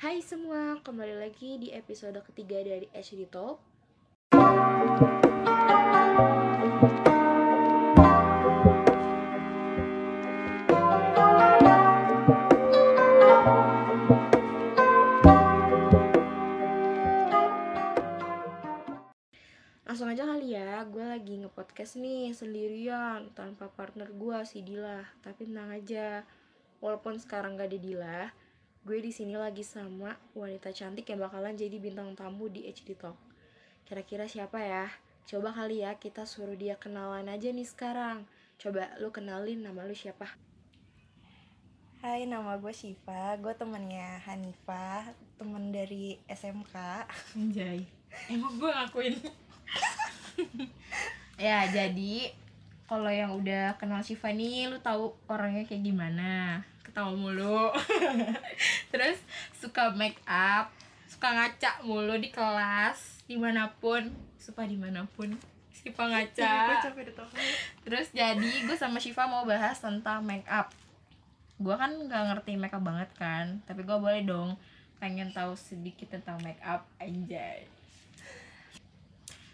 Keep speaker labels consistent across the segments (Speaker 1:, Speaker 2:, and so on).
Speaker 1: Hai semua, kembali lagi di episode ketiga dari HD Talk. Langsung aja kali ya, gue lagi nge-podcast nih sendirian tanpa partner gue si Dila. Tapi tenang aja, walaupun sekarang gak ada Dila, gue di sini lagi sama wanita cantik yang bakalan jadi bintang tamu di HD Talk. Kira-kira siapa ya? Coba kali ya kita suruh dia kenalan aja nih sekarang. Coba lu kenalin nama lu siapa?
Speaker 2: Hai, nama gue Syifa. Gue temennya Hanifah, temen dari SMK.
Speaker 3: Anjay. Emang gue ngakuin. ya, jadi kalau yang udah kenal Syifa nih, lu tahu orangnya kayak gimana. Ketawa mulu. Terus suka make up, suka ngaca mulu di kelas, dimanapun, suka dimanapun. Syifa
Speaker 2: Gue
Speaker 3: ngaca.
Speaker 2: capek ditawa.
Speaker 3: Terus jadi gue sama Syifa mau bahas tentang make up. Gue kan nggak ngerti make up banget kan, tapi gue boleh dong pengen tahu sedikit tentang make up anjay.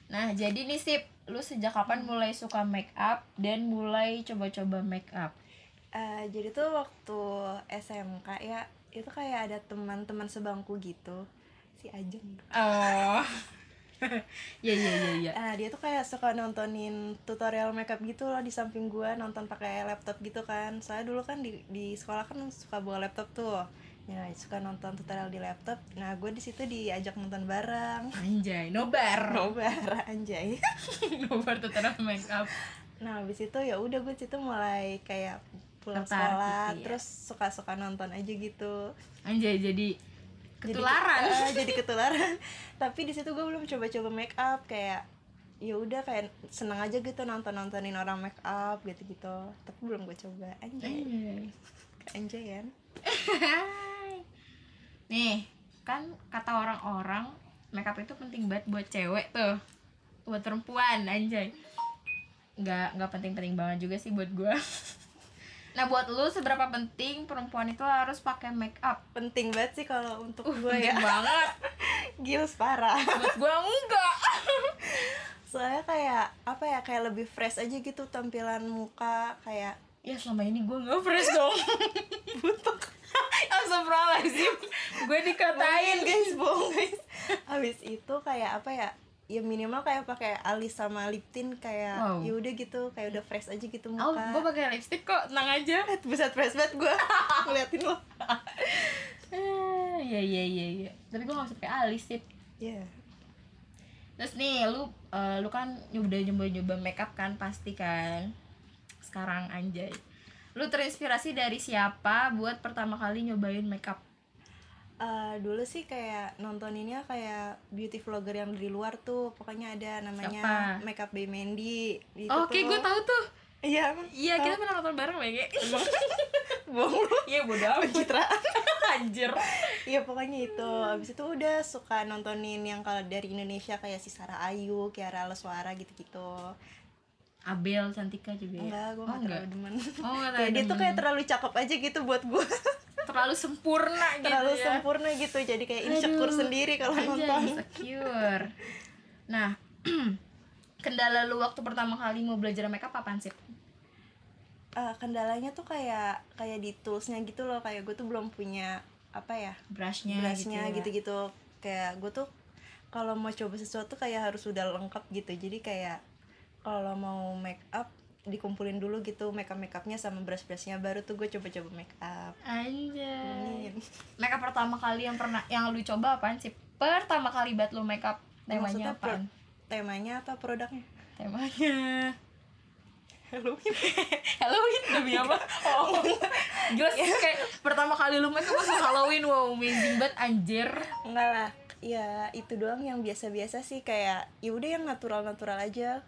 Speaker 3: Nah, jadi nih Sip, lu sejak kapan mulai suka make up dan mulai coba-coba make up?
Speaker 2: Eh, jadi tuh waktu SMK ya, itu kayak ada teman-teman sebangku gitu. Si Ajeng.
Speaker 3: Oh. ya ya ya ya.
Speaker 2: Eh, dia tuh kayak suka nontonin tutorial makeup gitu loh di samping gue nonton pakai laptop gitu kan. Soalnya dulu kan di, di sekolah kan suka bawa laptop tuh. Ya, suka nonton tutorial di laptop. Nah, gue di situ diajak nonton bareng.
Speaker 3: Anjay, nobar.
Speaker 2: Nobar anjay.
Speaker 3: nobar tutorial make up.
Speaker 2: Nah, habis itu ya udah gue situ mulai kayak pulang
Speaker 3: Tertarik
Speaker 2: sekolah,
Speaker 3: gitu ya.
Speaker 2: terus suka-suka nonton aja gitu.
Speaker 3: Anjay, jadi
Speaker 2: Jadi-
Speaker 3: ketularan.
Speaker 2: Eh, jadi ketularan. Tapi di situ gue belum coba-coba make up kayak ya udah kayak seneng aja gitu nonton-nontonin orang make up gitu-gitu. Tapi belum gue coba. Anjay,
Speaker 3: Anjay.
Speaker 2: anjay kan.
Speaker 3: Hai. Nih, kan kata orang-orang makeup itu penting banget buat cewek tuh. Buat perempuan anjay. Nggak nggak penting-penting banget juga sih buat gua. nah, buat lu seberapa penting perempuan itu harus pakai makeup?
Speaker 2: Penting banget sih kalau untuk
Speaker 3: Uh,
Speaker 2: gue
Speaker 3: penting
Speaker 2: ya.
Speaker 3: banget.
Speaker 2: Gils parah.
Speaker 3: buat gua enggak.
Speaker 2: Soalnya kayak apa ya kayak lebih fresh aja gitu tampilan muka kayak
Speaker 3: ya selama ini gua nggak fresh dong. Butuh. Astagfirullahaladzim Gue dikatain
Speaker 2: Bohongin, guys bohong guys habis itu kayak apa ya ya minimal kayak pakai alis sama lip tint kayak
Speaker 3: Wow.
Speaker 2: ya udah gitu kayak udah fresh aja gitu
Speaker 3: Oh, gue
Speaker 2: muka
Speaker 3: pakai lipstick kok, tenang aja
Speaker 2: Eh, buset fresh banget gue ngeliatin lo
Speaker 3: Ah, Iya iya iya iya. Tapi gue gak suka pakai alis sih.
Speaker 2: ya
Speaker 3: Terus nih lu eh, lu kan udah nyoba-nyoba makeup kan pasti kan. Sekarang anjay. Lu terinspirasi dari siapa buat pertama kali nyobain makeup?
Speaker 2: Eh, dulu sih kayak nontoninnya kayak beauty vlogger yang dari luar tuh pokoknya ada namanya
Speaker 3: Siapa?
Speaker 2: makeup by Mandy Itu
Speaker 3: Oh, Oke,
Speaker 2: tuh-
Speaker 3: gue tahu tuh.
Speaker 2: iya emang
Speaker 3: Iya, kita pernah nonton bareng ya,
Speaker 2: bohong lu
Speaker 3: Iya, bodo amat.
Speaker 2: pencitraan
Speaker 3: Anjir.
Speaker 2: Iya pokoknya itu Abis itu udah suka nontonin yang kalau dari Indonesia kayak si Sarah Ayu, Kiara Leswara gitu-gitu
Speaker 3: Abel Cantika juga ya.
Speaker 2: Enggak, gue
Speaker 3: Oh,
Speaker 2: gak
Speaker 3: enggak.
Speaker 2: terlalu demen
Speaker 3: Oh, enggak
Speaker 2: Kayak dia
Speaker 3: terlalu
Speaker 2: tuh
Speaker 3: demen.
Speaker 2: kayak terlalu cakep aja gitu buat gue
Speaker 3: terlalu sempurna gitu
Speaker 2: Terlalu
Speaker 3: ya.
Speaker 2: sempurna gitu, jadi kayak insecure
Speaker 3: Aduh,
Speaker 2: sendiri kalau
Speaker 3: anjay,
Speaker 2: nonton
Speaker 3: insecure. Nah, kendala lu waktu pertama kali mau belajar makeup apaan sih?
Speaker 2: Eh, Kendalanya tuh kayak kayak di toolsnya gitu loh, kayak gue tuh belum punya apa ya
Speaker 3: Brushnya, gitu,
Speaker 2: brushnya
Speaker 3: ya.
Speaker 2: gitu-gitu Kayak gue tuh kalau mau coba sesuatu kayak harus udah lengkap gitu Jadi kayak kalau mau make up dikumpulin dulu gitu make up make upnya sama brush brushnya baru tuh gue coba-coba make up
Speaker 3: Anjay. Hmm.
Speaker 2: Amin.
Speaker 3: Makeup pertama kali yang pernah yang lu coba apaan sih? Pertama kali buat lu makeup
Speaker 2: Maksudnya
Speaker 3: temanya
Speaker 2: pro-
Speaker 3: apaan?
Speaker 2: temanya apa produknya
Speaker 3: Temanya
Speaker 2: Halloween
Speaker 3: Halloween demi apa? Oh. Gila
Speaker 2: Iya.
Speaker 3: sih kayak pertama kali lu makeup langsung Halloween wow amazing banget anjir.
Speaker 2: Enggak lah, ya itu doang yang biasa-biasa sih kayak ya udah yang natural-natural aja.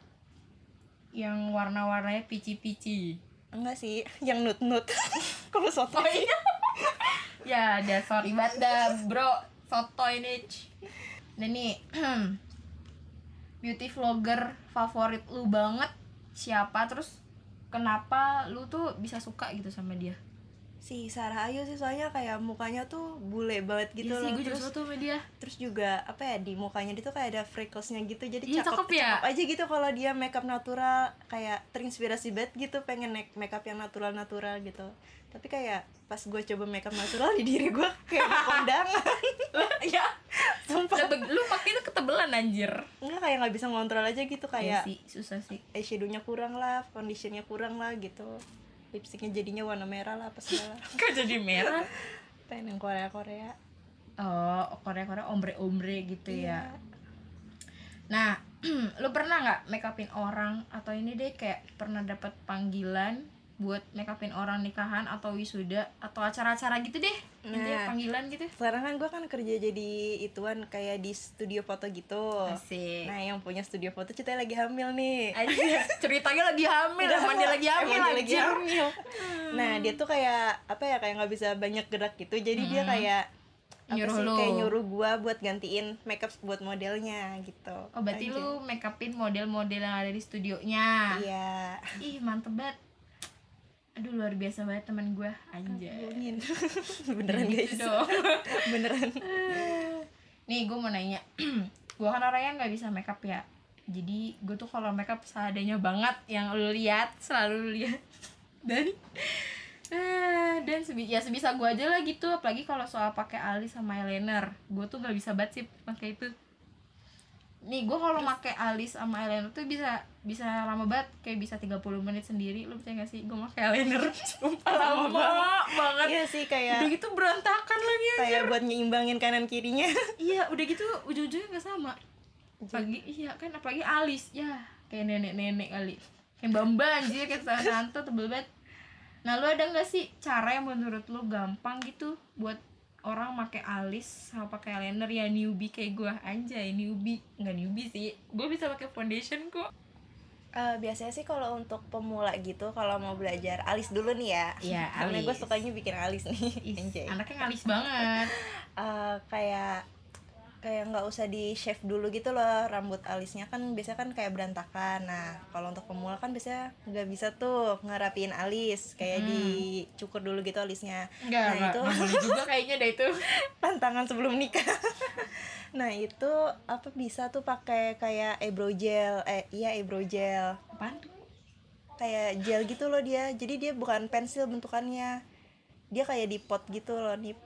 Speaker 3: Yang warna-warnanya pici-pici.
Speaker 2: Enggak sih, yang nut-nut. Kalau soto.
Speaker 3: iya. ya, ada sorry banget dah, bro. Sotoy nih. Nah nih, beauty vlogger favorit lu banget siapa? Terus kenapa lu tuh bisa suka gitu sama dia?
Speaker 2: si Sarah Ayu sih soalnya kayak mukanya tuh bule banget
Speaker 3: Iya
Speaker 2: gitu
Speaker 3: sih
Speaker 2: loh
Speaker 3: gue juga
Speaker 2: terus
Speaker 3: suka tuh sama dia
Speaker 2: terus juga apa ya di mukanya dia tuh kayak ada wrinklesnya gitu jadi
Speaker 3: Iya, cakep
Speaker 2: cakep,
Speaker 3: ya?
Speaker 2: cakep aja gitu kalau dia makeup natural kayak terinspirasi banget gitu pengen make makeup yang natural natural gitu tapi kayak pas gue coba makeup natural di diri gue kayak anak kondangan Iya,
Speaker 3: ya
Speaker 2: sumpah
Speaker 3: Lah, beg- lu pakai itu ketebelan anjir
Speaker 2: nggak kayak nggak bisa ngontrol aja gitu
Speaker 3: Iya
Speaker 2: kayak
Speaker 3: sih susah sih
Speaker 2: eyeshadownya kurang lah conditionnya kurang lah gitu lipstiknya jadinya warna merah lah apa segala
Speaker 3: kok jadi merah
Speaker 2: pengen yang Korea Korea
Speaker 3: oh Korea Korea ombre ombre gitu ya nah lu pernah nggak make upin orang atau ini deh kayak pernah dapat panggilan buat make upin orang nikahan atau wisuda atau acara-acara gitu deh Intinya
Speaker 2: Nah.
Speaker 3: panggilan gitu
Speaker 2: sekarang kan gue kan kerja jadi ituan kayak di studio foto gitu
Speaker 3: asik
Speaker 2: Nah yang punya studio foto ceritanya lagi hamil nih
Speaker 3: Anjir, ceritanya lagi hamil, emang dia lagi hamil,
Speaker 2: Emang dia lagi
Speaker 3: anjir. Hmm.
Speaker 2: hamil. Nah dia tuh kayak apa ya kayak nggak bisa banyak gerak gitu Jadi dia kayak apa
Speaker 3: Hmm. Nyuruh
Speaker 2: sih,
Speaker 3: lu.
Speaker 2: kayak nyuruh gua buat gantiin makeup buat modelnya gitu
Speaker 3: Oh, berarti
Speaker 2: Lanjut.
Speaker 3: lu make upin model-model yang ada di studionya.
Speaker 2: Iya
Speaker 3: Ih, mantep banget. Aduh, luar biasa banget teman gue, anjir.
Speaker 2: Bohongin. Beneran guys
Speaker 3: Iya. Gitu dong.
Speaker 2: Beneran
Speaker 3: Nih, gue mau nanya. gue kan orangnya nggak bisa make up ya. Jadi, gue tuh kalau make up seadanya banget yang lu lihat, selalu lu lihat. Dan ah, dan sebi ya sebisa gue aja lah gitu apalagi kalau soal pakai alis sama eyeliner gue tuh nggak bisa banget sih pakai itu nih gue kalau pakai alis sama eyeliner tuh bisa bisa lama banget kayak bisa 30 menit sendiri lu percaya gak sih gue pakai eyeliner sumpah lama, banget
Speaker 2: Iya sih
Speaker 3: udah
Speaker 2: kayak
Speaker 3: gitu berantakan lagi
Speaker 2: Kayak buat nyimbangin kanan kirinya
Speaker 3: Iya, udah gitu ujung-ujungnya nggak sama. Pagi iya kan apalagi alis ya kayak nenek-nenek kali. Kayak bamba anjir kayak tangan santo tebel banget. Nah, lu ada nggak sih cara yang menurut lu gampang gitu buat orang pakai alis sama pakai eyeliner ya newbie kayak gua anjay newbie nggak newbie sih gua bisa pakai foundation kok
Speaker 2: Eh, biasanya sih kalau untuk pemula gitu kalau mau belajar alis dulu nih ya
Speaker 3: Iya,
Speaker 2: karena gue
Speaker 3: alis.
Speaker 2: sukanya bikin alis nih
Speaker 3: Ih,
Speaker 2: Anjay.
Speaker 3: anaknya ngalis banget
Speaker 2: Eh, kayak kayak nggak usah di shave dulu gitu loh rambut alisnya kan biasanya kan kayak berantakan nah kalau untuk pemula kan biasanya nggak bisa tuh ngerapiin alis kayak dicukur dulu gitu alisnya
Speaker 3: enggak
Speaker 2: Nah,
Speaker 3: enggak
Speaker 2: itu-
Speaker 3: nggak boleh juga kayaknya dah itu
Speaker 2: tantangan sebelum nikah nah itu apa bisa tuh pakai kayak eyebrow gel eh iya eyebrow gel
Speaker 3: apaan tuh?
Speaker 2: kayak gel gitu loh dia jadi dia bukan pensil bentukannya dia kayak di pot gitu loh nih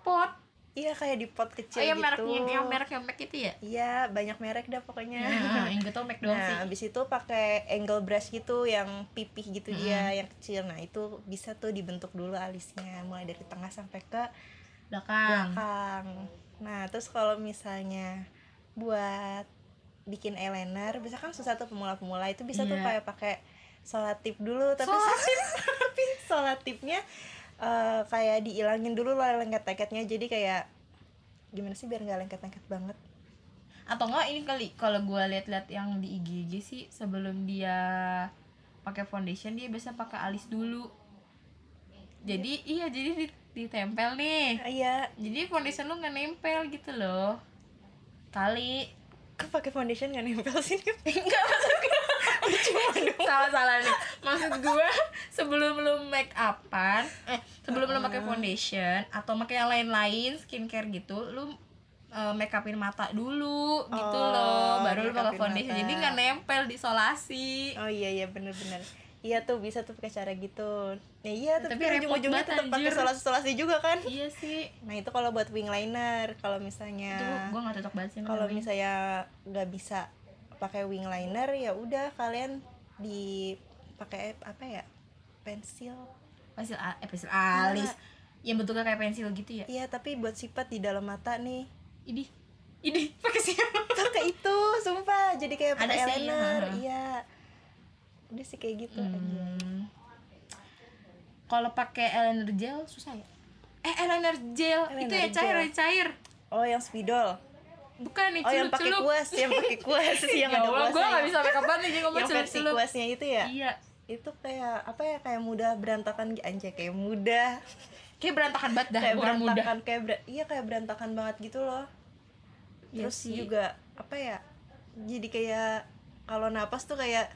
Speaker 3: pot
Speaker 2: iya kayak di pot
Speaker 3: oh
Speaker 2: kecil
Speaker 3: yang
Speaker 2: gitu
Speaker 3: mereknya yang merek yang merek itu ya
Speaker 2: Iya, banyak merek dah pokoknya.
Speaker 3: Nah, yang gue tau Mac doang sih
Speaker 2: Nah, abis itu pakai angle brush gitu yang pipih gitu dia
Speaker 3: Hmm.
Speaker 2: yang kecil. Nah, itu bisa tuh dibentuk dulu alisnya mulai dari tengah sampai ke
Speaker 3: belakang
Speaker 2: belakang. Nah, terus kalau misalnya buat bikin eyeliner, bisa kan susah tuh pemula-pemula itu bisa tuh
Speaker 3: Iya.
Speaker 2: kayak pakai solatip dulu, tapi
Speaker 3: Solatip?
Speaker 2: tapi solatipnya eh, kayak dihilangin dulu lah lengket-lengketnya. Jadi kayak gimana sih biar nggak lengket-lengket banget?
Speaker 3: atau enggak ini kali kalau gue liat-liat yang di IG IG sih sebelum dia pakai foundation dia biasa pakai alis dulu jadi iya jadi di- ditempel nih
Speaker 2: Iya,
Speaker 3: jadi foundation lu nggak nempel gitu loh kali
Speaker 2: Kok pakai foundation gak nempel sini?
Speaker 3: enggak maksud gue salah salah nih maksud gue sebelum lu make upan eh sebelum lu pakai foundation atau pakai yang lain-lain skincare gitu lu eh, make upin mata dulu gitu
Speaker 2: Oh,
Speaker 3: loh baru lu
Speaker 2: make
Speaker 3: pakai
Speaker 2: upin
Speaker 3: foundation
Speaker 2: mata.
Speaker 3: jadi nggak nempel di solasi
Speaker 2: Oh iya iya bener-bener Iya tuh bisa tuh pakai cara gitu Nah iya tapi,
Speaker 3: Tapi repot
Speaker 2: ujung-ujungnya
Speaker 3: banget,
Speaker 2: tetap pakai
Speaker 3: anjir.
Speaker 2: solasi-solasi juga kan
Speaker 3: iya sih
Speaker 2: Nah itu kalau buat wing liner Kalau
Speaker 3: itu
Speaker 2: misalnya
Speaker 3: gue nggak cocok banget sih sama
Speaker 2: Kalau
Speaker 3: wing.
Speaker 2: misalnya nggak bisa pakai wing liner ya udah kalian di pakai apa ya pensil
Speaker 3: pensil a- eh, pensil alis yang bentuknya kayak pensil gitu ya
Speaker 2: iya tapi buat sifat di dalam mata nih
Speaker 3: ini ini pakai siapa
Speaker 2: pakai itu sumpah jadi kayak
Speaker 3: Ada
Speaker 2: pakai
Speaker 3: sih,
Speaker 2: eyeliner
Speaker 3: ha.
Speaker 2: iya udah sih kayak gitu aja
Speaker 3: Hmm. Kalau pakai eyeliner gel susah ya? Eh eyeliner gel itu
Speaker 2: Eyeliner
Speaker 3: yang cair
Speaker 2: gel.
Speaker 3: yang cair.
Speaker 2: oh yang spidol
Speaker 3: Bukan nih
Speaker 2: Oh yang pakai
Speaker 3: celup-celup.
Speaker 2: kuas, yang pakai kuas yang
Speaker 3: ya
Speaker 2: ada
Speaker 3: Allah, gue gak
Speaker 2: kuasnya.
Speaker 3: bisa make up banget nih jadi ngomong
Speaker 2: Yang versi
Speaker 3: celup-celup.
Speaker 2: kuasnya itu ya.
Speaker 3: Iya.
Speaker 2: Itu kayak apa ya kayak mudah berantakan gi- anjay kayak mudah.
Speaker 3: Kayak berantakan banget dah,
Speaker 2: kayak
Speaker 3: bukan mudah.
Speaker 2: berantakan kayak ber- iya kayak berantakan banget gitu loh.
Speaker 3: Iya
Speaker 2: Terus
Speaker 3: sih.
Speaker 2: juga apa ya? Jadi kayak kalau napas tuh kayak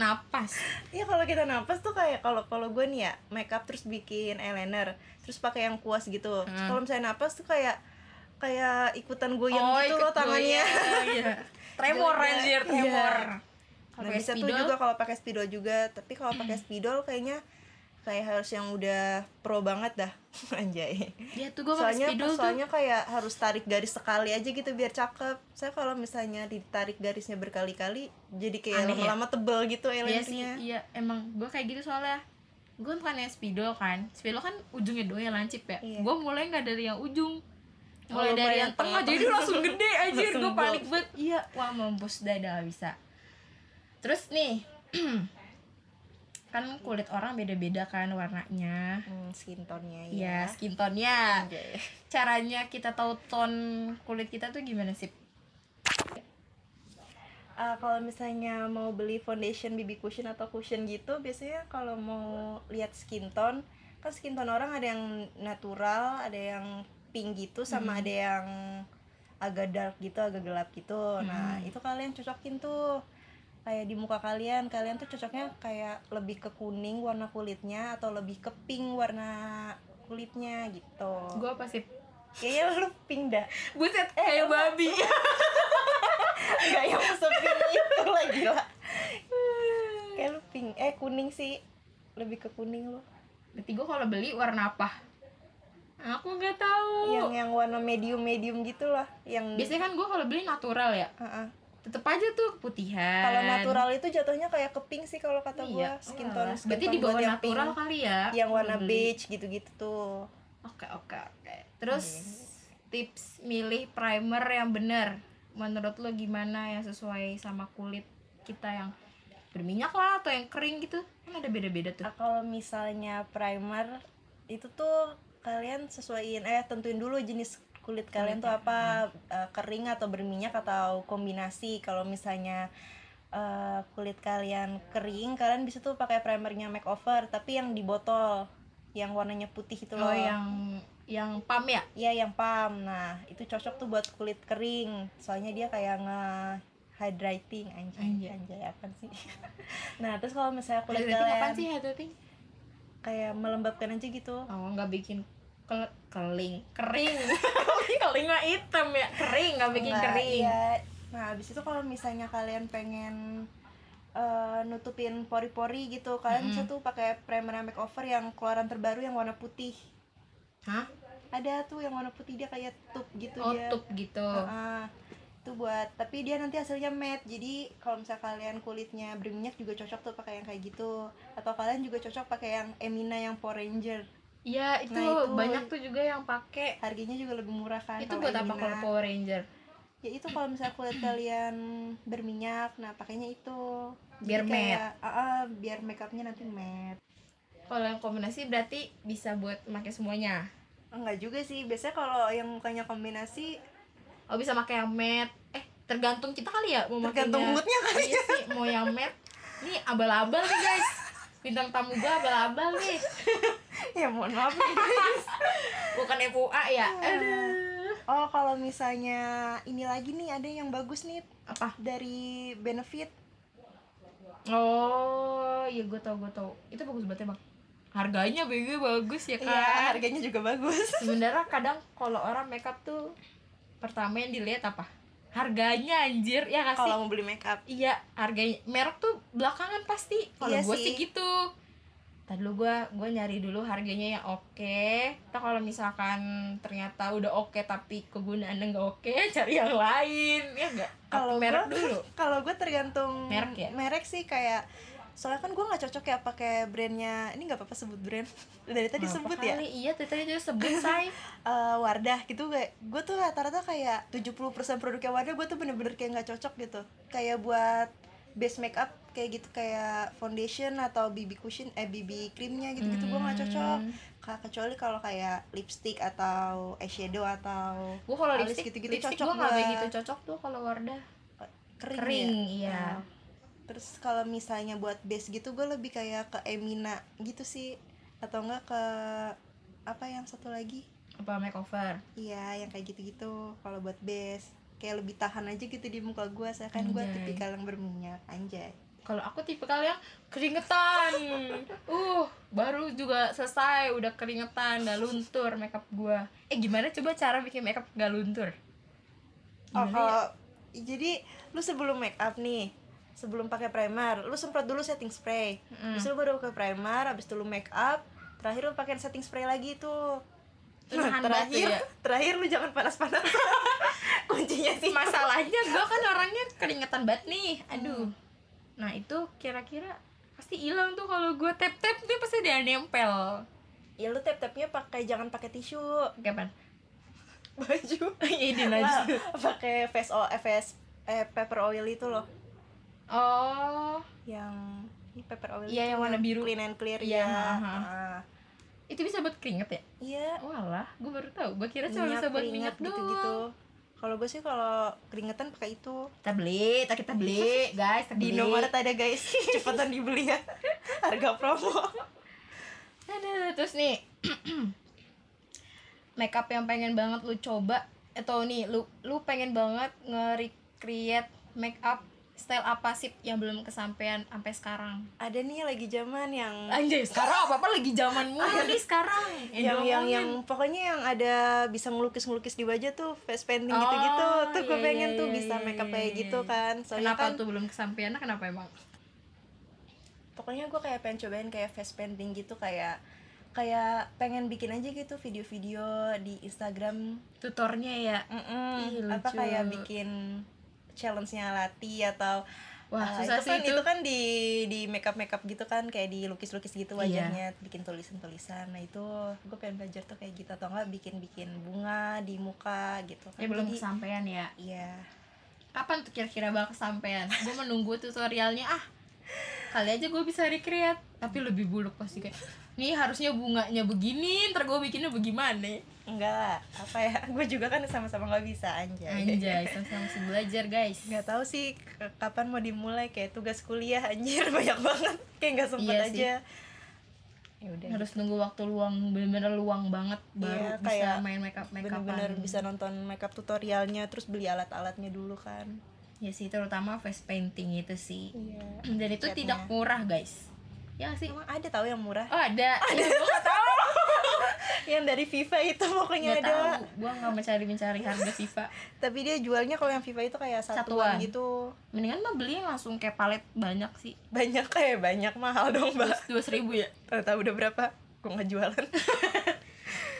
Speaker 3: napas
Speaker 2: Iya kalau kita napas tuh kayak kalau kalau gue nih ya makeup terus bikin eyeliner terus pakai yang kuas gitu. Terus
Speaker 3: Hmm.
Speaker 2: Kalau misalnya napas tuh kayak kayak ikutan goyang gitu
Speaker 3: Oh, ikut
Speaker 2: loh tangannya.
Speaker 3: goyang, iya. tremor
Speaker 2: Jelek ya.
Speaker 3: anjir tremor
Speaker 2: Nah,
Speaker 3: Kalau pakai
Speaker 2: bisa tuh
Speaker 3: spidol, Hmm.
Speaker 2: juga kalau pakai spidol juga, tapi kalau pakai spidol kayaknya kayak harus yang udah pro banget dah anjay.
Speaker 3: ya tuh gue pakai
Speaker 2: soalnya
Speaker 3: spidol tuh
Speaker 2: soalnya kayak harus tarik garis sekali aja gitu biar cakep. Saya kalau misalnya ditarik garisnya berkali-kali jadi kayak
Speaker 3: Aneh ya?
Speaker 2: lama-lama tebel gitu
Speaker 3: Iya sih,
Speaker 2: eyelinernya.
Speaker 3: iya emang gue kayak gitu soalnya gue bukan yang spidol kan spidol kan ujungnya doang yang lancip ya
Speaker 2: Iya.
Speaker 3: gue mulai nggak dari yang ujung mulai
Speaker 2: Oh,
Speaker 3: dari
Speaker 2: lumayan
Speaker 3: yang tengah
Speaker 2: tengah-tengah.
Speaker 3: jadi langsung gede anjir
Speaker 2: Langsung
Speaker 3: gue
Speaker 2: gol.
Speaker 3: panik banget iya wah mampus dah dah nggak bisa terus nih kan kulit orang beda-beda kan warnanya
Speaker 2: Hmm, skin tone-nya
Speaker 3: ya
Speaker 2: ya.
Speaker 3: skin tone-nya
Speaker 2: Anjay.
Speaker 3: caranya kita tahu tone kulit kita tuh gimana sih
Speaker 2: Ah, kalau misalnya mau beli foundation BB cushion atau cushion gitu biasanya kalau mau lihat skin tone kan skin tone orang ada yang natural ada yang pink gitu sama ada yang agak dark gitu agak gelap gitu nah itu kalian cocokin tuh kayak di muka kalian kalian tuh cocoknya kayak lebih ke kuning warna kulitnya atau lebih ke pink warna kulitnya gitu
Speaker 3: gue pasti
Speaker 2: kayaknya lu pink dah
Speaker 3: buset kayak
Speaker 2: Eh,
Speaker 3: babi
Speaker 2: Enggak yang seping itu lagi lah. Kayak lu pink, eh kuning sih. Lebih ke kuning lu.
Speaker 3: berarti gue kalau beli warna apa aku nggak tahu
Speaker 2: Yang yang warna medium-medium gitu lah, yang
Speaker 3: biasanya kan gue kalau beli natural ya
Speaker 2: Heeh.
Speaker 3: tetep aja tuh keputihan
Speaker 2: Kalau natural itu jatuhnya kayak ke pink sih kalau kata
Speaker 3: iya.
Speaker 2: gua, skin tone.
Speaker 3: Wah,
Speaker 2: Skin
Speaker 3: berarti
Speaker 2: tone
Speaker 3: di bawah
Speaker 2: buat yang
Speaker 3: natural
Speaker 2: pink, Iya.
Speaker 3: kali ya
Speaker 2: yang warna
Speaker 3: Beli.
Speaker 2: beige gitu-gitu tuh.
Speaker 3: oke oke oke terus tips milih primer yang bener menurut lo gimana yang sesuai sama kulit kita yang berminyak lah atau yang kering gitu kan ada beda-beda tuh
Speaker 2: Ah, kalau misalnya primer itu tuh kalian sesuaiin eh tentuin dulu jenis kulit
Speaker 3: ya.
Speaker 2: kalian tuh apa
Speaker 3: Hmm.
Speaker 2: eh, kering atau berminyak atau kombinasi kalau misalnya eh, kulit kalian kering kalian bisa tuh pakai primernya makeover tapi yang di botol yang warnanya putih itu loh
Speaker 3: oh yang yang pam ya
Speaker 2: Iya yang pam. Nah, itu cocok tuh buat kulit kering. Soalnya dia kayak nge hydrating anjay.
Speaker 3: Anjay.
Speaker 2: Anjay, apa sih? nah, terus kalau misalnya kulit
Speaker 3: Hydrating apaan
Speaker 2: kalian
Speaker 3: sih hydrating
Speaker 2: kayak melembabkan aja gitu.
Speaker 3: oh nggak bikin kel- keling kering keling mah hitam ya kering nggak bikin
Speaker 2: Enggak,
Speaker 3: kering
Speaker 2: iya. Nah, habis itu kalau misalnya kalian pengen eh, nutupin pori-pori gitu, kalian bisa tuh pakai primer yang makeover yang keluaran terbaru yang warna putih.
Speaker 3: hah
Speaker 2: Ada tuh yang warna putih dia kayak tube gitu
Speaker 3: oh
Speaker 2: dia.
Speaker 3: tup gitu
Speaker 2: Heeh. itu buat tapi dia nanti hasilnya matte jadi kalau misalnya kalian kulitnya berminyak juga cocok tuh pakai yang kayak gitu atau kalian juga cocok pakai yang Emina yang Power Ranger
Speaker 3: Iya itu,
Speaker 2: Nah, itu.
Speaker 3: banyak tuh juga yang pakai.
Speaker 2: harganya juga lebih murah kan
Speaker 3: Itu
Speaker 2: kalau
Speaker 3: buat apa
Speaker 2: Emina.
Speaker 3: kalau Power Ranger?
Speaker 2: ya itu kalau misalnya kulit kalian berminyak nah pakainya itu
Speaker 3: Biar
Speaker 2: Jadi kayak, "Ah, ah, biar makeupnya nanti matte
Speaker 3: Kalau yang kombinasi berarti bisa buat pakai semuanya.
Speaker 2: enggak juga sih biasanya kalau yang mukanya kombinasi
Speaker 3: Oh bisa pakai yang matte. Eh tergantung kita kali ya mau
Speaker 2: tergantung
Speaker 3: makainya.
Speaker 2: moodnya kan
Speaker 3: Iya sih mau yang matte. Nih abal-abal nih guys. Bintang tamu gua abal-abal nih.
Speaker 2: ya mohon maaf nih, guys.
Speaker 3: Bukan FUA ya.
Speaker 2: Iya.
Speaker 3: Aduh.
Speaker 2: oh kalau misalnya ini lagi nih ada yang bagus nih
Speaker 3: Apa?
Speaker 2: dari benefit
Speaker 3: Oh iya gue tau gue tau. Itu bagus banget emang. Harganya BG bagus ya kan.
Speaker 2: Iya, harganya juga bagus.
Speaker 3: sebenarnya kadang kalau orang makeup tuh pertama yang dilihat apa harganya anjir ya nggak sih
Speaker 2: Kalau mau beli makeup.
Speaker 3: iya harganya merek tuh belakangan pasti kalau
Speaker 2: Iya
Speaker 3: gue
Speaker 2: sih.
Speaker 3: sih. gitu tadi dulu gue gue nyari dulu harganya yang oke Ntar kalau misalkan ternyata udah oke tapi kegunaannya nggak oke cari yang lain ya nggak kalau
Speaker 2: Kalau
Speaker 3: merek
Speaker 2: gua-
Speaker 3: dulu
Speaker 2: Kalau gue tergantung
Speaker 3: Merek ya?
Speaker 2: sih kayak soalnya kan gue nggak cocok ya pakai brandnya ini nggak apa-apa sebut brand dari tadi
Speaker 3: Apa
Speaker 2: sebut ya
Speaker 3: kali? iya tadi tadi juga sebut say
Speaker 2: Eh, Wardah gitu gue gue tuh rata-rata kayak 70% produknya Wardah gue tuh bener-bener kayak nggak cocok gitu kayak buat base makeup kayak gitu kayak foundation atau BB cushion eh BB creamnya gitu-gitu gue nggak
Speaker 3: Hmm.
Speaker 2: cocok Ka- kecuali kalau kayak lipstick atau eyeshadow atau
Speaker 3: gue kalau
Speaker 2: Alis
Speaker 3: lipstick
Speaker 2: gitu-gitu
Speaker 3: lipstick
Speaker 2: cocok
Speaker 3: gue nggak
Speaker 2: buat-
Speaker 3: begitu cocok tuh kalau Wardah
Speaker 2: kering, ya.
Speaker 3: kering iya
Speaker 2: Nah, Terus kalau misalnya buat base gitu gue lebih kayak ke Emina gitu sih atau enggak ke apa yang satu lagi?
Speaker 3: apa makeover
Speaker 2: Iya, yang kayak gitu-gitu kalau buat base. Kayak lebih tahan aja gitu di muka gue, saya kan gue
Speaker 3: Anjay.
Speaker 2: tipikal yang berminyak, anjay.
Speaker 3: kalau aku tipe kalian keringetan uh baru juga selesai udah keringetan udah luntur makeup gua eh gimana coba cara bikin makeup gak luntur
Speaker 2: Oh, kalau jadi lu sebelum make up nih, sebelum pakai primer, lu semprot dulu setting spray.
Speaker 3: Hmm.
Speaker 2: Terus lu baru pakai primer, habis itu lu make up, terakhir lu pakai setting spray lagi tuh.
Speaker 3: Itu nahan batu
Speaker 2: terakhir,
Speaker 3: ya?
Speaker 2: terakhir lu jangan panas-panas. Kuncinya sih.
Speaker 3: masalahnya gua kan orangnya keringetan banget nih aduh nah itu kira-kira pasti hilang tuh kalau gua tap tap tuh pasti dia nempel
Speaker 2: Ya lu tap-tapnya pakai jangan pakai tisu,
Speaker 3: kapan
Speaker 2: baju.
Speaker 3: ini
Speaker 2: Lah,
Speaker 3: aja
Speaker 2: pakai face oil, eh, face eh, pepper oil itu loh,
Speaker 3: oh
Speaker 2: yang ini pepper oil
Speaker 3: Iya,
Speaker 2: itu
Speaker 3: yang warna biru.
Speaker 2: clean and clear
Speaker 3: Iya,
Speaker 2: ya.
Speaker 3: aha.
Speaker 2: Ah.
Speaker 3: itu bisa buat keringet ya
Speaker 2: Iya,
Speaker 3: walah gue baru tahu gue kira cuma bisa buat minyak doang
Speaker 2: gitu-gitu. Kalau gue sih kalau keringetan pakai itu.
Speaker 3: kita beli tak kita beli guys kita
Speaker 2: Di
Speaker 3: beli
Speaker 2: Indomaret ada guys, cepetan dibeli ya. Harga promo.
Speaker 3: Ada, Nah, terus nih makeup yang pengen banget lu coba atau nih lu lu pengen banget nge-recreate makeup style apa sih yang belum kesampaian sampai sekarang
Speaker 2: Ada nih lagi zaman yang
Speaker 3: anjay sekarang apa apa lagi zaman mulu nih Ah, sekarang
Speaker 2: yang yang yang pokoknya yang ada bisa ngelukis-ngelukis di wajah tuh face painting
Speaker 3: Oh,
Speaker 2: gitu-gitu. Tuh gue
Speaker 3: iya,
Speaker 2: pengen
Speaker 3: iya,
Speaker 2: tuh
Speaker 3: iya,
Speaker 2: bisa
Speaker 3: iya,
Speaker 2: makeup
Speaker 3: iya,
Speaker 2: kayak
Speaker 3: iya,
Speaker 2: gitu
Speaker 3: iya.
Speaker 2: kan. Soalnya
Speaker 3: kenapa
Speaker 2: kan
Speaker 3: tuh belum kesampaian kenapa emang
Speaker 2: pokoknya gue kayak pengen cobain kayak face painting gitu kayak kayak pengen bikin aja gitu video-video di Instagram
Speaker 3: tutornya ya Ih,
Speaker 2: Mm-mm.
Speaker 3: lucu.
Speaker 2: apa kayak bikin challenge-nya Lati atau
Speaker 3: wah
Speaker 2: Ah,
Speaker 3: susah
Speaker 2: itu
Speaker 3: sih
Speaker 2: kan,
Speaker 3: itu,
Speaker 2: itu kan di di makeup makeup gitu kan kayak dilukis lukis
Speaker 3: Iya.
Speaker 2: gitu wajahnya bikin tulisan tulisan nah itu gue pengen belajar tuh kayak gitu atau enggak bikin bikin bunga di muka gitu kan
Speaker 3: ya belum
Speaker 2: Jadi,
Speaker 3: kesampaian ya
Speaker 2: iya
Speaker 3: kapan tuh kira-kira bakal kesampaian gue menunggu tutorialnya ah kali aja gue bisa recreate tapi lebih buluk pasti kayak nih harusnya bunganya begini ntar gue bikinnya bagaimana
Speaker 2: enggak lah apa ya gue juga kan sama-sama nggak bisa anjay
Speaker 3: anjay sama-sama masih belajar guys
Speaker 2: Ya, nggak tahu sih k- kapan mau dimulai kayak tugas kuliah anjir banyak banget kayak nggak sempet
Speaker 3: Iya sih.
Speaker 2: aja ya udah
Speaker 3: harus nunggu waktu luang bener-bener luang banget
Speaker 2: Iya,
Speaker 3: baru bisa
Speaker 2: kayak
Speaker 3: main makeup makeupan
Speaker 2: bener-bener bisa nonton makeup tutorialnya terus beli alat-alatnya dulu kan
Speaker 3: ya sih terutama face painting itu sih
Speaker 2: iya
Speaker 3: dan itu
Speaker 2: catnya.
Speaker 3: tidak murah guys ya nggak sih
Speaker 2: emang ada tahu yang murah
Speaker 3: oh ada ya, gue nggak tahu
Speaker 2: yang dari Viva itu pokoknya
Speaker 3: nggak
Speaker 2: ada
Speaker 3: tahu gue nggak mencari mencari harga FIFA
Speaker 2: tapi dia jualnya kalau yang Viva itu kayak satuan,
Speaker 3: Satuan.
Speaker 2: gitu
Speaker 3: mendingan mah beli yang langsung kayak palet banyak sih
Speaker 2: banyak kayak banyak mahal dong mbak
Speaker 3: dua seribu ya
Speaker 2: tahu tahu udah berapa gue nggak jualan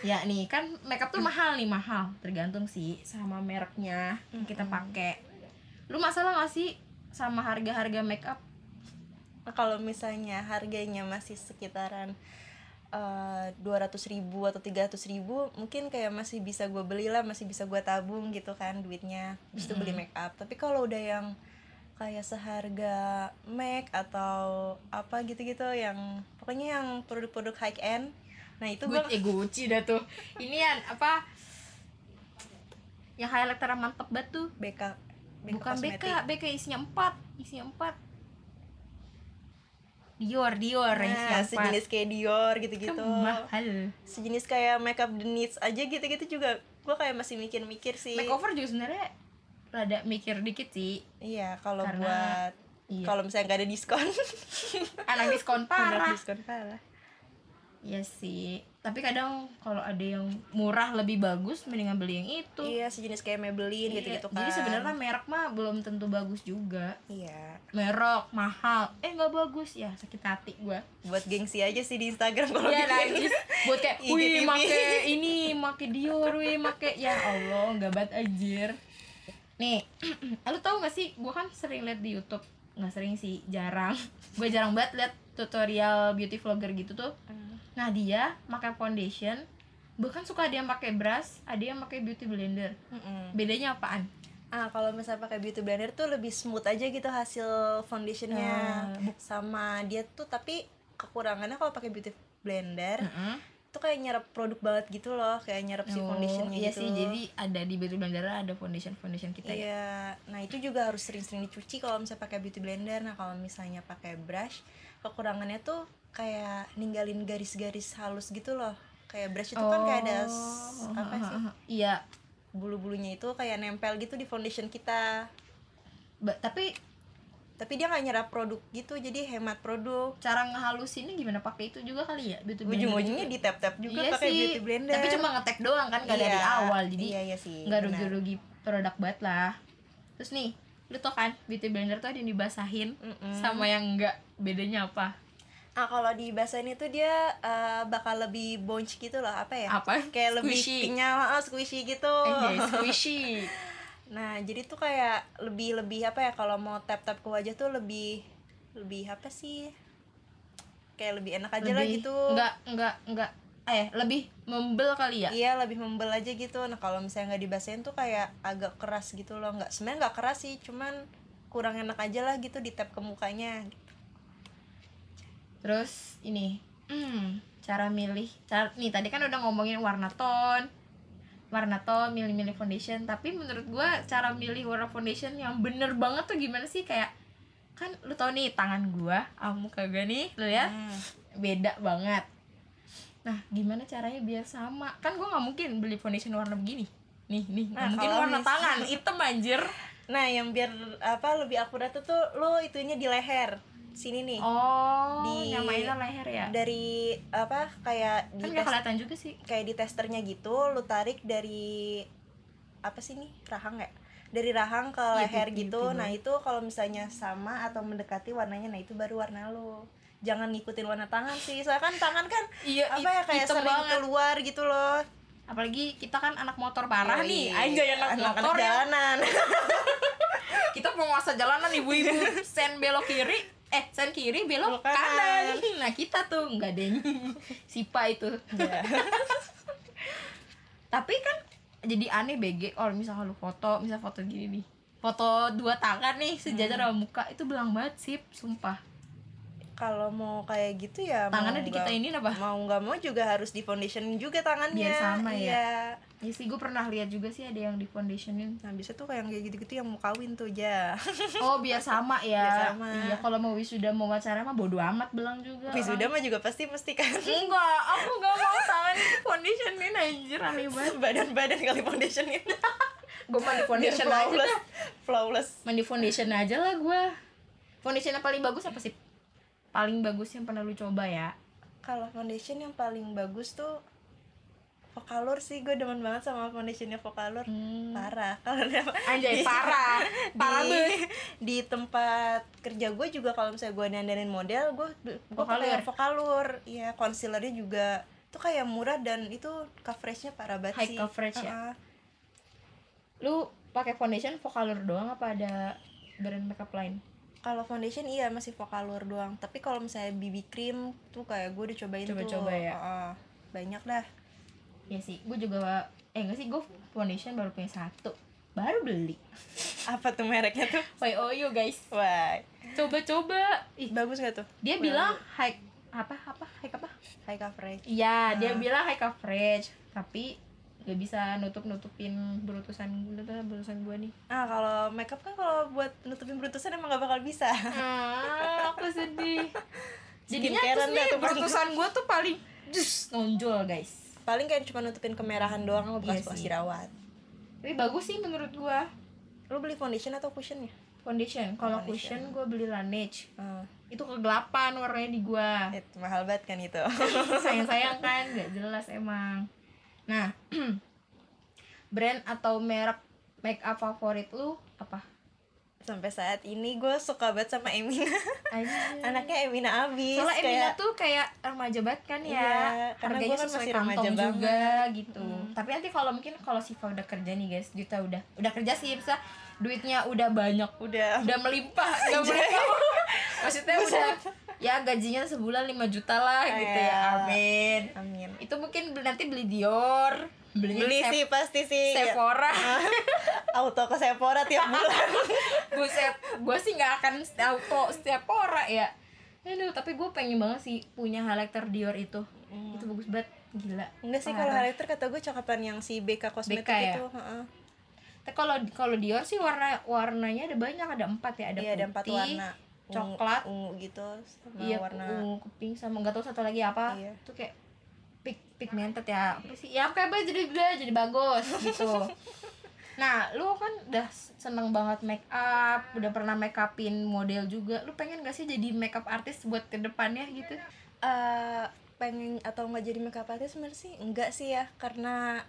Speaker 3: ya nih kan makeup tuh mahal nih mahal tergantung sih sama mereknya yang kita pakai lu masalah gak sih sama harga-harga makeup
Speaker 2: kalau misalnya harganya masih sekitaran eh, dua ratus ribu atau tiga ratus ribu mungkin kayak masih bisa gue belilah masih bisa gue tabung gitu kan duitnya habis itu beli make up tapi kalau udah yang kayak seharga make atau apa gitu-gitu yang pokoknya yang produk-produk high end nah itu gue
Speaker 3: Gucci eh Gucci dah tuh ini yang apa yang highlighter yang mantep banget tuh
Speaker 2: BK
Speaker 3: bukan BK BK isinya empat isinya empat Dior Dior yang isinya
Speaker 2: Nah,
Speaker 3: empat
Speaker 2: sejenis kayak Dior
Speaker 3: Kan
Speaker 2: gitu-gitu
Speaker 3: mahal
Speaker 2: sejenis kayak makeup the needs aja gitu-gitu juga gue kayak masih mikir-mikir sih
Speaker 3: makeover juga sebenarnya rada mikir dikit sih
Speaker 2: iya kalau
Speaker 3: Karena-
Speaker 2: buat
Speaker 3: Iya.
Speaker 2: kalau misalnya nggak ada diskon
Speaker 3: anak diskon
Speaker 2: Bener
Speaker 3: parah
Speaker 2: diskon parah
Speaker 3: Iya sih, tapi kadang kalau ada yang murah lebih bagus mendingan beli yang itu.
Speaker 2: iya sejenis kayak Maybelline
Speaker 3: Iya,
Speaker 2: gitu-gitu kan
Speaker 3: Jadi sebenarnya merek mah belum tentu bagus juga.
Speaker 2: iya
Speaker 3: Merek mahal, eh nggak bagus ya sakit hati gua.
Speaker 2: buat gengsi aja sih di Instagram kalau gitu.
Speaker 3: Iya
Speaker 2: bikin
Speaker 3: najis buat kayak
Speaker 2: IGTV.
Speaker 3: wih make ini, make Dior, wih make ya Allah nggak bat ajir. Nih, lu tahu gak sih, gua kan sering liat di YouTube, nggak sering sih, jarang. Gue jarang banget liat tutorial beauty vlogger gitu tuh.
Speaker 2: Hmm.
Speaker 3: Nah dia pakai foundation, bahkan suka ada yang pakai brush, ada yang pakai beauty blender.
Speaker 2: Mm-mm.
Speaker 3: Bedanya apaan?
Speaker 2: ah kalau misalnya pakai beauty blender tuh lebih smooth aja gitu hasil foundationnya
Speaker 3: Ah. Eh,
Speaker 2: sama dia tuh tapi kekurangannya kalau pakai beauty blender itu kayak nyerap produk banget gitu loh kayak nyerap si
Speaker 3: Oh,
Speaker 2: foundationnya
Speaker 3: iya
Speaker 2: gitu
Speaker 3: sih, jadi ada di beauty blender ada foundation foundation kita ya.
Speaker 2: iya nah itu juga harus sering-sering dicuci kalau misalnya pakai beauty blender nah kalau misalnya pakai brush kekurangannya tuh kayak ninggalin garis-garis halus gitu loh kayak brush itu kan kayak ada s- apa sih
Speaker 3: Oh, Iya,
Speaker 2: bulu-bulunya itu kayak nempel gitu di foundation kita
Speaker 3: ba- tapi
Speaker 2: tapi dia nggak nyerap produk gitu jadi hemat produk
Speaker 3: Cara ngehalusinnya gimana pakai itu juga kali ya? Beauty blender
Speaker 2: ujung-ujungnya
Speaker 3: juga.
Speaker 2: di tap tap juga
Speaker 3: Iya
Speaker 2: pakai
Speaker 3: sih,
Speaker 2: beauty blender
Speaker 3: Tapi cuma ngetek doang kan gak dari
Speaker 2: Iya,
Speaker 3: awal. Jadi
Speaker 2: iya, iya sih
Speaker 3: nggak
Speaker 2: benar.
Speaker 3: rugi-rugi produk banget lah. Terus nih, lu tau kan beauty blender tuh ada yang dibasahin
Speaker 2: Mm-mm.
Speaker 3: sama yang enggak bedanya apa?
Speaker 2: Ah kalau di bahasa ini tuh dia eh, bakal lebih bonch gitu loh apa ya?
Speaker 3: Apa?
Speaker 2: Kayak lebih
Speaker 3: Squishy. Iya.
Speaker 2: kenyal, ah, squishy gitu.
Speaker 3: Anjay, squishy.
Speaker 2: Nah jadi tuh kayak lebih lebih apa ya kalau mau tap tap ke wajah tuh lebih lebih apa sih? Kayak lebih enak aja lah gitu.
Speaker 3: Enggak, enggak, enggak. Eh, lebih membel kali ya?
Speaker 2: Iya lebih membel aja gitu. Nah kalau misalnya nggak dibasahin tuh kayak agak keras gitu loh. Nggak sebenarnya nggak keras sih, cuman kurang enak aja lah gitu di tap ke mukanya.
Speaker 3: Terus ini, hmm, cara milih. Cara, nih tadi kan udah ngomongin warna tone, warna tone, milih-milih foundation. Tapi menurut gua cara milih warna foundation yang bener banget tuh gimana sih? Kayak kan lu tau nih tangan gua, sama muka gua nih, lu ya
Speaker 2: Hmm.
Speaker 3: beda banget. Nah, gimana caranya biar sama? Kan gua nggak mungkin beli foundation warna begini. Nih, nih, nggak
Speaker 2: Nah,
Speaker 3: mungkin
Speaker 2: kalau
Speaker 3: warna
Speaker 2: mis-
Speaker 3: tangan hitam anjir.
Speaker 2: Nah yang biar apa lebih akurat tuh tuh lu itunya di leher sini nih.
Speaker 3: Oh,
Speaker 2: Di-
Speaker 3: nyamainnya leher ya.
Speaker 2: dari apa kayak di
Speaker 3: Kan nggak
Speaker 2: tes-
Speaker 3: kelihatan juga sih.
Speaker 2: kayak di testernya gitu lu tarik dari apa sih nih rahang ya dari rahang ke leher
Speaker 3: pipi-
Speaker 2: gitu
Speaker 3: pipi
Speaker 2: nah itu kalau misalnya sama atau mendekati warnanya nah itu baru warna lu jangan ngikutin warna tangan sih soalnya kan tangan kan
Speaker 3: Iya,
Speaker 2: apa ya kayak
Speaker 3: hitam
Speaker 2: sering
Speaker 3: banget.
Speaker 2: keluar gitu loh
Speaker 3: apalagi kita kan anak motor parah
Speaker 2: Yoi.
Speaker 3: nih anjay iya, anak,
Speaker 2: Anak-anak
Speaker 3: motor ya
Speaker 2: jalanan
Speaker 3: kita penguasa jalanan ibu-ibu sen belok kiri eh sen kiri belok
Speaker 2: Belok kanan.
Speaker 3: kanan. nah kita tuh nggak deng sipa itu
Speaker 2: Iya.
Speaker 3: tapi kan jadi aneh BG kalau misalnya lu foto misal foto gini nih foto dua tangan nih sejajar sama muka itu belang banget sih sumpah
Speaker 2: kalau mau kayak gitu ya mau
Speaker 3: Tangannya
Speaker 2: nggak-
Speaker 3: dikitain apa?
Speaker 2: mau nggak mau juga harus di foundation juga tangannya
Speaker 3: Biar sama ya.
Speaker 2: iya.
Speaker 3: ya sih gue pernah lihat juga sih ada yang di foundationin
Speaker 2: nah biasanya tuh kayak yang kayak gitu-gitu yang mau kawin tuh ja
Speaker 3: oh biar sama ya
Speaker 2: Biar sama.
Speaker 3: iya kalau mau wisuda mau wawancara mah bodo amat belang juga orang.
Speaker 2: wisuda mah juga pasti mesti kan
Speaker 3: Enggak, aku gak mau tangan di conditionin anjir aneh banget
Speaker 2: badan-badan kali foundation ini
Speaker 3: Gue mandi
Speaker 2: Biar
Speaker 3: foundation aja
Speaker 2: flawless
Speaker 3: dah
Speaker 2: flawless
Speaker 3: Mandi foundation aja lah gue Foundation yang paling bagus apa sih? Paling bagus yang pernah lu coba ya
Speaker 2: kalau foundation yang paling bagus tuh Vokalur sih gue demen banget sama foundationnya Vokalur parah kalau dia-
Speaker 3: Hmm, Anjay
Speaker 2: di-
Speaker 3: parah Parah
Speaker 2: di,
Speaker 3: banget
Speaker 2: di tempat kerja gue juga kalau misalnya gue dandanin model gue gue
Speaker 3: Vokalur.
Speaker 2: pakai Vokalur ya concealernya juga itu kayak murah dan itu coveragenya parah banget
Speaker 3: High
Speaker 2: sih
Speaker 3: coverage ya?
Speaker 2: Heeh.
Speaker 3: Lu pakai foundation Vokalur doang apa ada brand makeup lain?
Speaker 2: kalau foundation iya masih Vokalur doang tapi kalau misalnya BB cream tuh kayak gue udah cobain
Speaker 3: Coba-coba
Speaker 2: tuh
Speaker 3: ya.
Speaker 2: Heeh. banyak dah
Speaker 3: Ya sih, gue juga Eh enggak sih, gue foundation baru punya satu Baru beli
Speaker 2: apa tuh mereknya tuh
Speaker 3: YOYO guys
Speaker 2: wah
Speaker 3: Coba-coba Ih,
Speaker 2: bagus gak tuh
Speaker 3: Dia bilang high apa apa high apa
Speaker 2: high coverage
Speaker 3: Iya, dia
Speaker 2: Ah.
Speaker 3: bilang high coverage, tapi gak bisa nutup-nutupin berutusan berutusan gua nih.
Speaker 2: ah kalau makeup kan kalau buat nutupin berutusan emang gak bakal bisa
Speaker 3: Ah, aku sedih. Jadinya terus nih
Speaker 2: Skincarean dah tuh paling.
Speaker 3: berutusan gua tuh paling jus nonjol, guys.
Speaker 2: paling kayak cuma nutupin kemerahan doang sama
Speaker 3: Iya
Speaker 2: bekas bekas
Speaker 3: sih.
Speaker 2: jerawat
Speaker 3: Tapi bagus sih menurut gua
Speaker 2: lu beli foundation atau cushionnya
Speaker 3: foundation. Kalau cushion
Speaker 2: Foundation.
Speaker 3: gua beli Laneige.
Speaker 2: ah
Speaker 3: Itu kegelapan warnanya di gua.
Speaker 2: it, mahal banget kan itu
Speaker 3: sayang-sayang kan nggak jelas emang nah brand atau merek make up favorit lu apa
Speaker 2: sampai saat ini gue suka banget sama Emina
Speaker 3: Anjir.
Speaker 2: anaknya Emina abis
Speaker 3: Soalnya Emina
Speaker 2: kayak
Speaker 3: tuh kayak remaja banget kan ya.
Speaker 2: Iya, karena
Speaker 3: Harganya
Speaker 2: gua kan
Speaker 3: sesuai
Speaker 2: masih
Speaker 3: kantong
Speaker 2: remaja Hmm.
Speaker 3: juga gitu. Tapi nanti kalau mungkin kalau Siva udah kerja nih guys, Juta udah udah kerja sih bisa duitnya udah banyak,
Speaker 2: udah
Speaker 3: udah melimpah, udah melimpah. Maksudnya udah ya gajinya sebulan 5 juta lah gitu ya.
Speaker 2: Iya.
Speaker 3: Amin.
Speaker 2: amin
Speaker 3: Itu mungkin bel- nanti beli Dior, beli,
Speaker 2: beli sih pasti sih Ya,
Speaker 3: Sephora.
Speaker 2: auto ke Sephora tiap bulan
Speaker 3: Buset, gue sih nggak akan auto setiap ora ya. Aduh, tapi gue pengen banget sih punya highlighter Dior itu. Itu bagus banget, gila.
Speaker 2: Hmm. enggak sih kalau
Speaker 3: Parah.
Speaker 2: highlighter kata gue cokepan yang si BK kosmetik
Speaker 3: BK ya?
Speaker 2: itu heeh.
Speaker 3: Tapi kalau kalau Dior sih warna warnanya ada banyak, ada empat ya, ada
Speaker 2: iya ada empat
Speaker 3: putih,
Speaker 2: warna Ungu-
Speaker 3: coklat.
Speaker 2: ungu, gitu sama
Speaker 3: iya,
Speaker 2: warna
Speaker 3: ungu, keping sama nggak tahu satu lagi apa.
Speaker 2: Iya.
Speaker 3: Itu kayak ya? pig, pigmented ya. Apa sih? Ya kayak apa jadi gede, jadi bagus gitu. Nah, lu kan udah seneng banget make up, udah pernah make upin model juga. Lu pengen gak sih jadi make up artist buat ke depannya gitu?
Speaker 2: Eh, pengen atau nggak jadi makeup artist sebenarnya sih enggak sih ya karena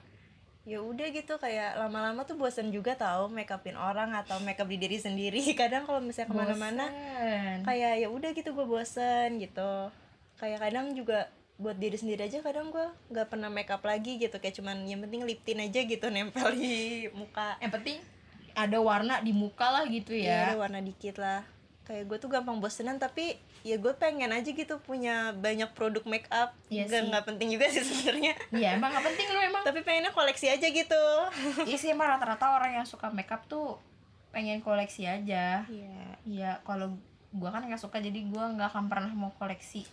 Speaker 2: ya udah gitu kayak lama-lama tuh bosan juga tahu make upin orang atau make up di diri sendiri kadang kalau misalnya kemana-mana
Speaker 3: Bosen.
Speaker 2: kayak ya udah gitu gue bosen gitu kayak kadang juga buat diri sendiri aja kadang gue nggak pernah make up lagi gitu kayak cuman yang penting lip tint aja gitu nempel di muka
Speaker 3: Yang penting ada warna di muka lah gitu
Speaker 2: ya, ada
Speaker 3: ya.
Speaker 2: warna dikit lah kayak gue tuh gampang bosenan tapi ya gue pengen aja gitu punya banyak produk make up
Speaker 3: Iya
Speaker 2: Nggak-
Speaker 3: sih.
Speaker 2: nggak penting juga sih sebenarnya
Speaker 3: Iya, emang gak penting lu emang.
Speaker 2: tapi pengennya koleksi aja gitu
Speaker 3: Iya sih emang rata-rata orang yang suka make up tuh pengen koleksi aja.
Speaker 2: iya
Speaker 3: Iya, kalau gua kan nggak suka jadi gua nggak akan pernah mau koleksi.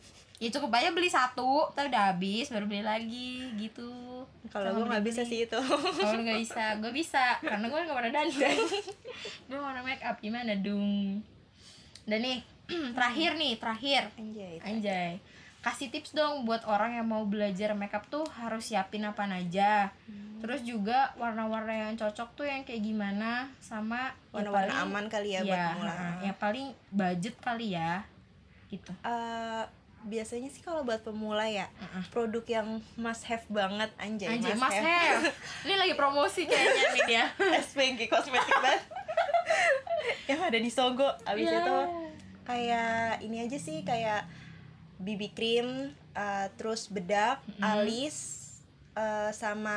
Speaker 3: Ya cukup aja beli satu, tapi udah habis baru beli lagi gitu.
Speaker 2: kalau
Speaker 3: Sama
Speaker 2: gue nggak bisa
Speaker 3: beli-beli.
Speaker 2: sih itu
Speaker 3: kalau nggak bisa gue bisa karena gue nggak pernah dandan gue mau make up gimana dung dan nih terakhir nih terakhir
Speaker 2: anjay
Speaker 3: anjay kasih tips dong buat orang yang mau belajar make up tuh harus siapin apa aja
Speaker 2: Hmm.
Speaker 3: terus juga warna-warna yang cocok tuh yang kayak gimana sama ya
Speaker 2: warna-warna
Speaker 3: paling-
Speaker 2: aman kali ya, buat
Speaker 3: ya,
Speaker 2: pemula
Speaker 3: ha-ha, yang paling budget kali ya gitu
Speaker 2: Eh, biasanya sih kalau buat pemula ya
Speaker 3: Mm-mm.
Speaker 2: produk yang must have banget anjay,
Speaker 3: Anjay, must have. Ini lagi promosi kayaknya nih dia.
Speaker 2: SPG kosmetik banget yang ada di Sogo abis
Speaker 3: Iya.
Speaker 2: itu kayak ini aja sih kayak BB cream eh, terus bedak alis eh, sama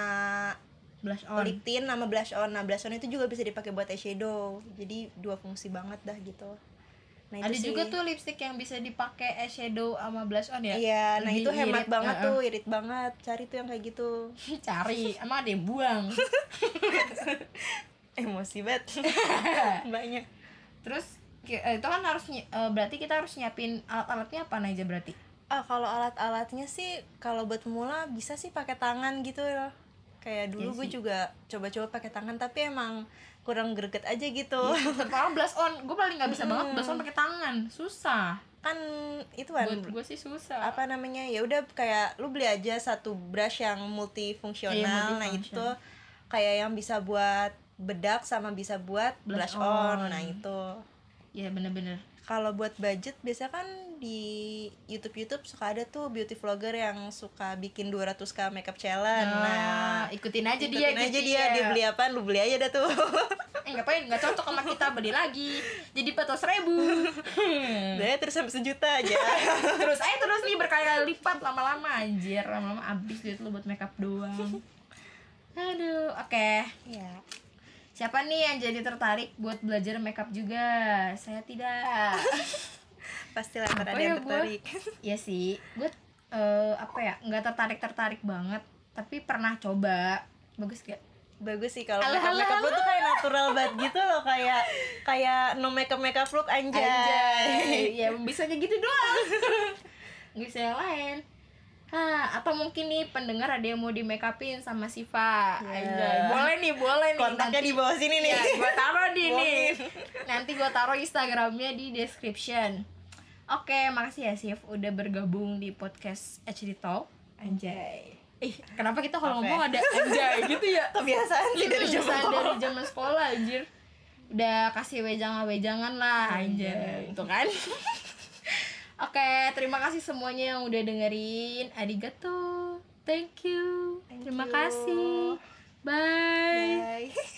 Speaker 3: Blush on.
Speaker 2: lip tint sama blush on nah blush on itu juga bisa dipakai buat eyeshadow jadi dua fungsi banget dah gitu nah,
Speaker 3: ada
Speaker 2: sih.
Speaker 3: juga tuh lipstick yang bisa dipakai eyeshadow sama blush on ya
Speaker 2: Iya, nah
Speaker 3: Lebih
Speaker 2: itu hemat
Speaker 3: irit,
Speaker 2: banget
Speaker 3: uh-uh.
Speaker 2: tuh, irit banget. Cari tuh yang kayak gitu.
Speaker 3: cari emang ada yang buang
Speaker 2: Emosi banget. Banyak.
Speaker 3: terus ki- eh, itu kan harus nyi- eh, berarti kita harus nyiapin alat-alatnya apa aja berarti
Speaker 2: Ah, kalau alat-alatnya sih kalau buat pemula bisa sih pakai tangan gitu loh. Kayak
Speaker 3: Iya
Speaker 2: dulu gue
Speaker 3: sih.
Speaker 2: juga coba-coba pakai tangan tapi emang kurang greget aja gitu.
Speaker 3: terutama blush on gue paling nggak bisa banget blush on pakai tangan susah
Speaker 2: kan itu kan
Speaker 3: buat gue sih susah
Speaker 2: apa namanya? Ya udah kayak lu beli aja satu brush yang multifungsional.
Speaker 3: Iya,
Speaker 2: Nah,
Speaker 3: multifunction.
Speaker 2: itu kayak yang bisa buat bedak sama bisa buat
Speaker 3: Blush
Speaker 2: blush
Speaker 3: on.
Speaker 2: on. Nah, itu.
Speaker 3: ya bener-bener
Speaker 2: kalau buat budget biasanya kan di YouTube YouTube suka ada tuh beauty vlogger yang suka bikin 200k makeup challenge.
Speaker 3: nah,
Speaker 2: Nah,
Speaker 3: ikutin aja dia
Speaker 2: ikutin aja
Speaker 3: gitu
Speaker 2: dia,
Speaker 3: ya.
Speaker 2: dia beli apa, lu beli aja dah tuh.
Speaker 3: eh ngapain nggak cocok sama kita beli lagi jadi patos seribu Hmm.
Speaker 2: Deh terus sampai sejuta aja.
Speaker 3: terus aja terus nih berkali-kali lipat lama-lama anjir lama-lama abis duit lu buat makeup doang aduh oke Iya.
Speaker 2: ya.
Speaker 3: siapa nih yang jadi tertarik buat belajar makeup juga saya tidak
Speaker 2: Pasti lah
Speaker 3: Apa
Speaker 2: ada
Speaker 3: ya
Speaker 2: yang
Speaker 3: gua?
Speaker 2: tertarik.
Speaker 3: ya sih gue eh, apa ya nggak tertarik tertarik banget tapi pernah coba bagus gak
Speaker 2: Bagus sih kalau
Speaker 3: Alah,
Speaker 2: makeup makeup
Speaker 3: alah,
Speaker 2: lu tuh kayak natural banget gitu loh kayak kayak no makeup makeup look anjay.
Speaker 3: Anjay. ya bisanya gitu doang nggak bisa yang lain Hah, atau mungkin nih pendengar ada yang mau di make upin sama Siva
Speaker 2: Ya.
Speaker 3: Anjay. boleh nih boleh nih
Speaker 2: Kontaknya di bawah sini nih.
Speaker 3: Iya, gue taruh di nih.
Speaker 2: Bohongin.
Speaker 3: Nanti gue taruh Instagramnya di description. Oke, makasih ya Sif udah bergabung di podcast HD Talk. Anjay. Ih, kenapa kita kalau
Speaker 2: Oke.
Speaker 3: ngomong ada anjay gitu ya?
Speaker 2: Kebiasaan sih dari
Speaker 3: Bisa
Speaker 2: zaman
Speaker 3: dari zaman sekolah anjir. Udah kasih wejangan-wejangan
Speaker 2: Iya.
Speaker 3: lah anjay. Itu kan. Oke, terima kasih semuanya yang udah dengerin. Arigato. Thank you.
Speaker 2: Thank
Speaker 3: terima
Speaker 2: you.
Speaker 3: kasih. Bye.
Speaker 2: Bye.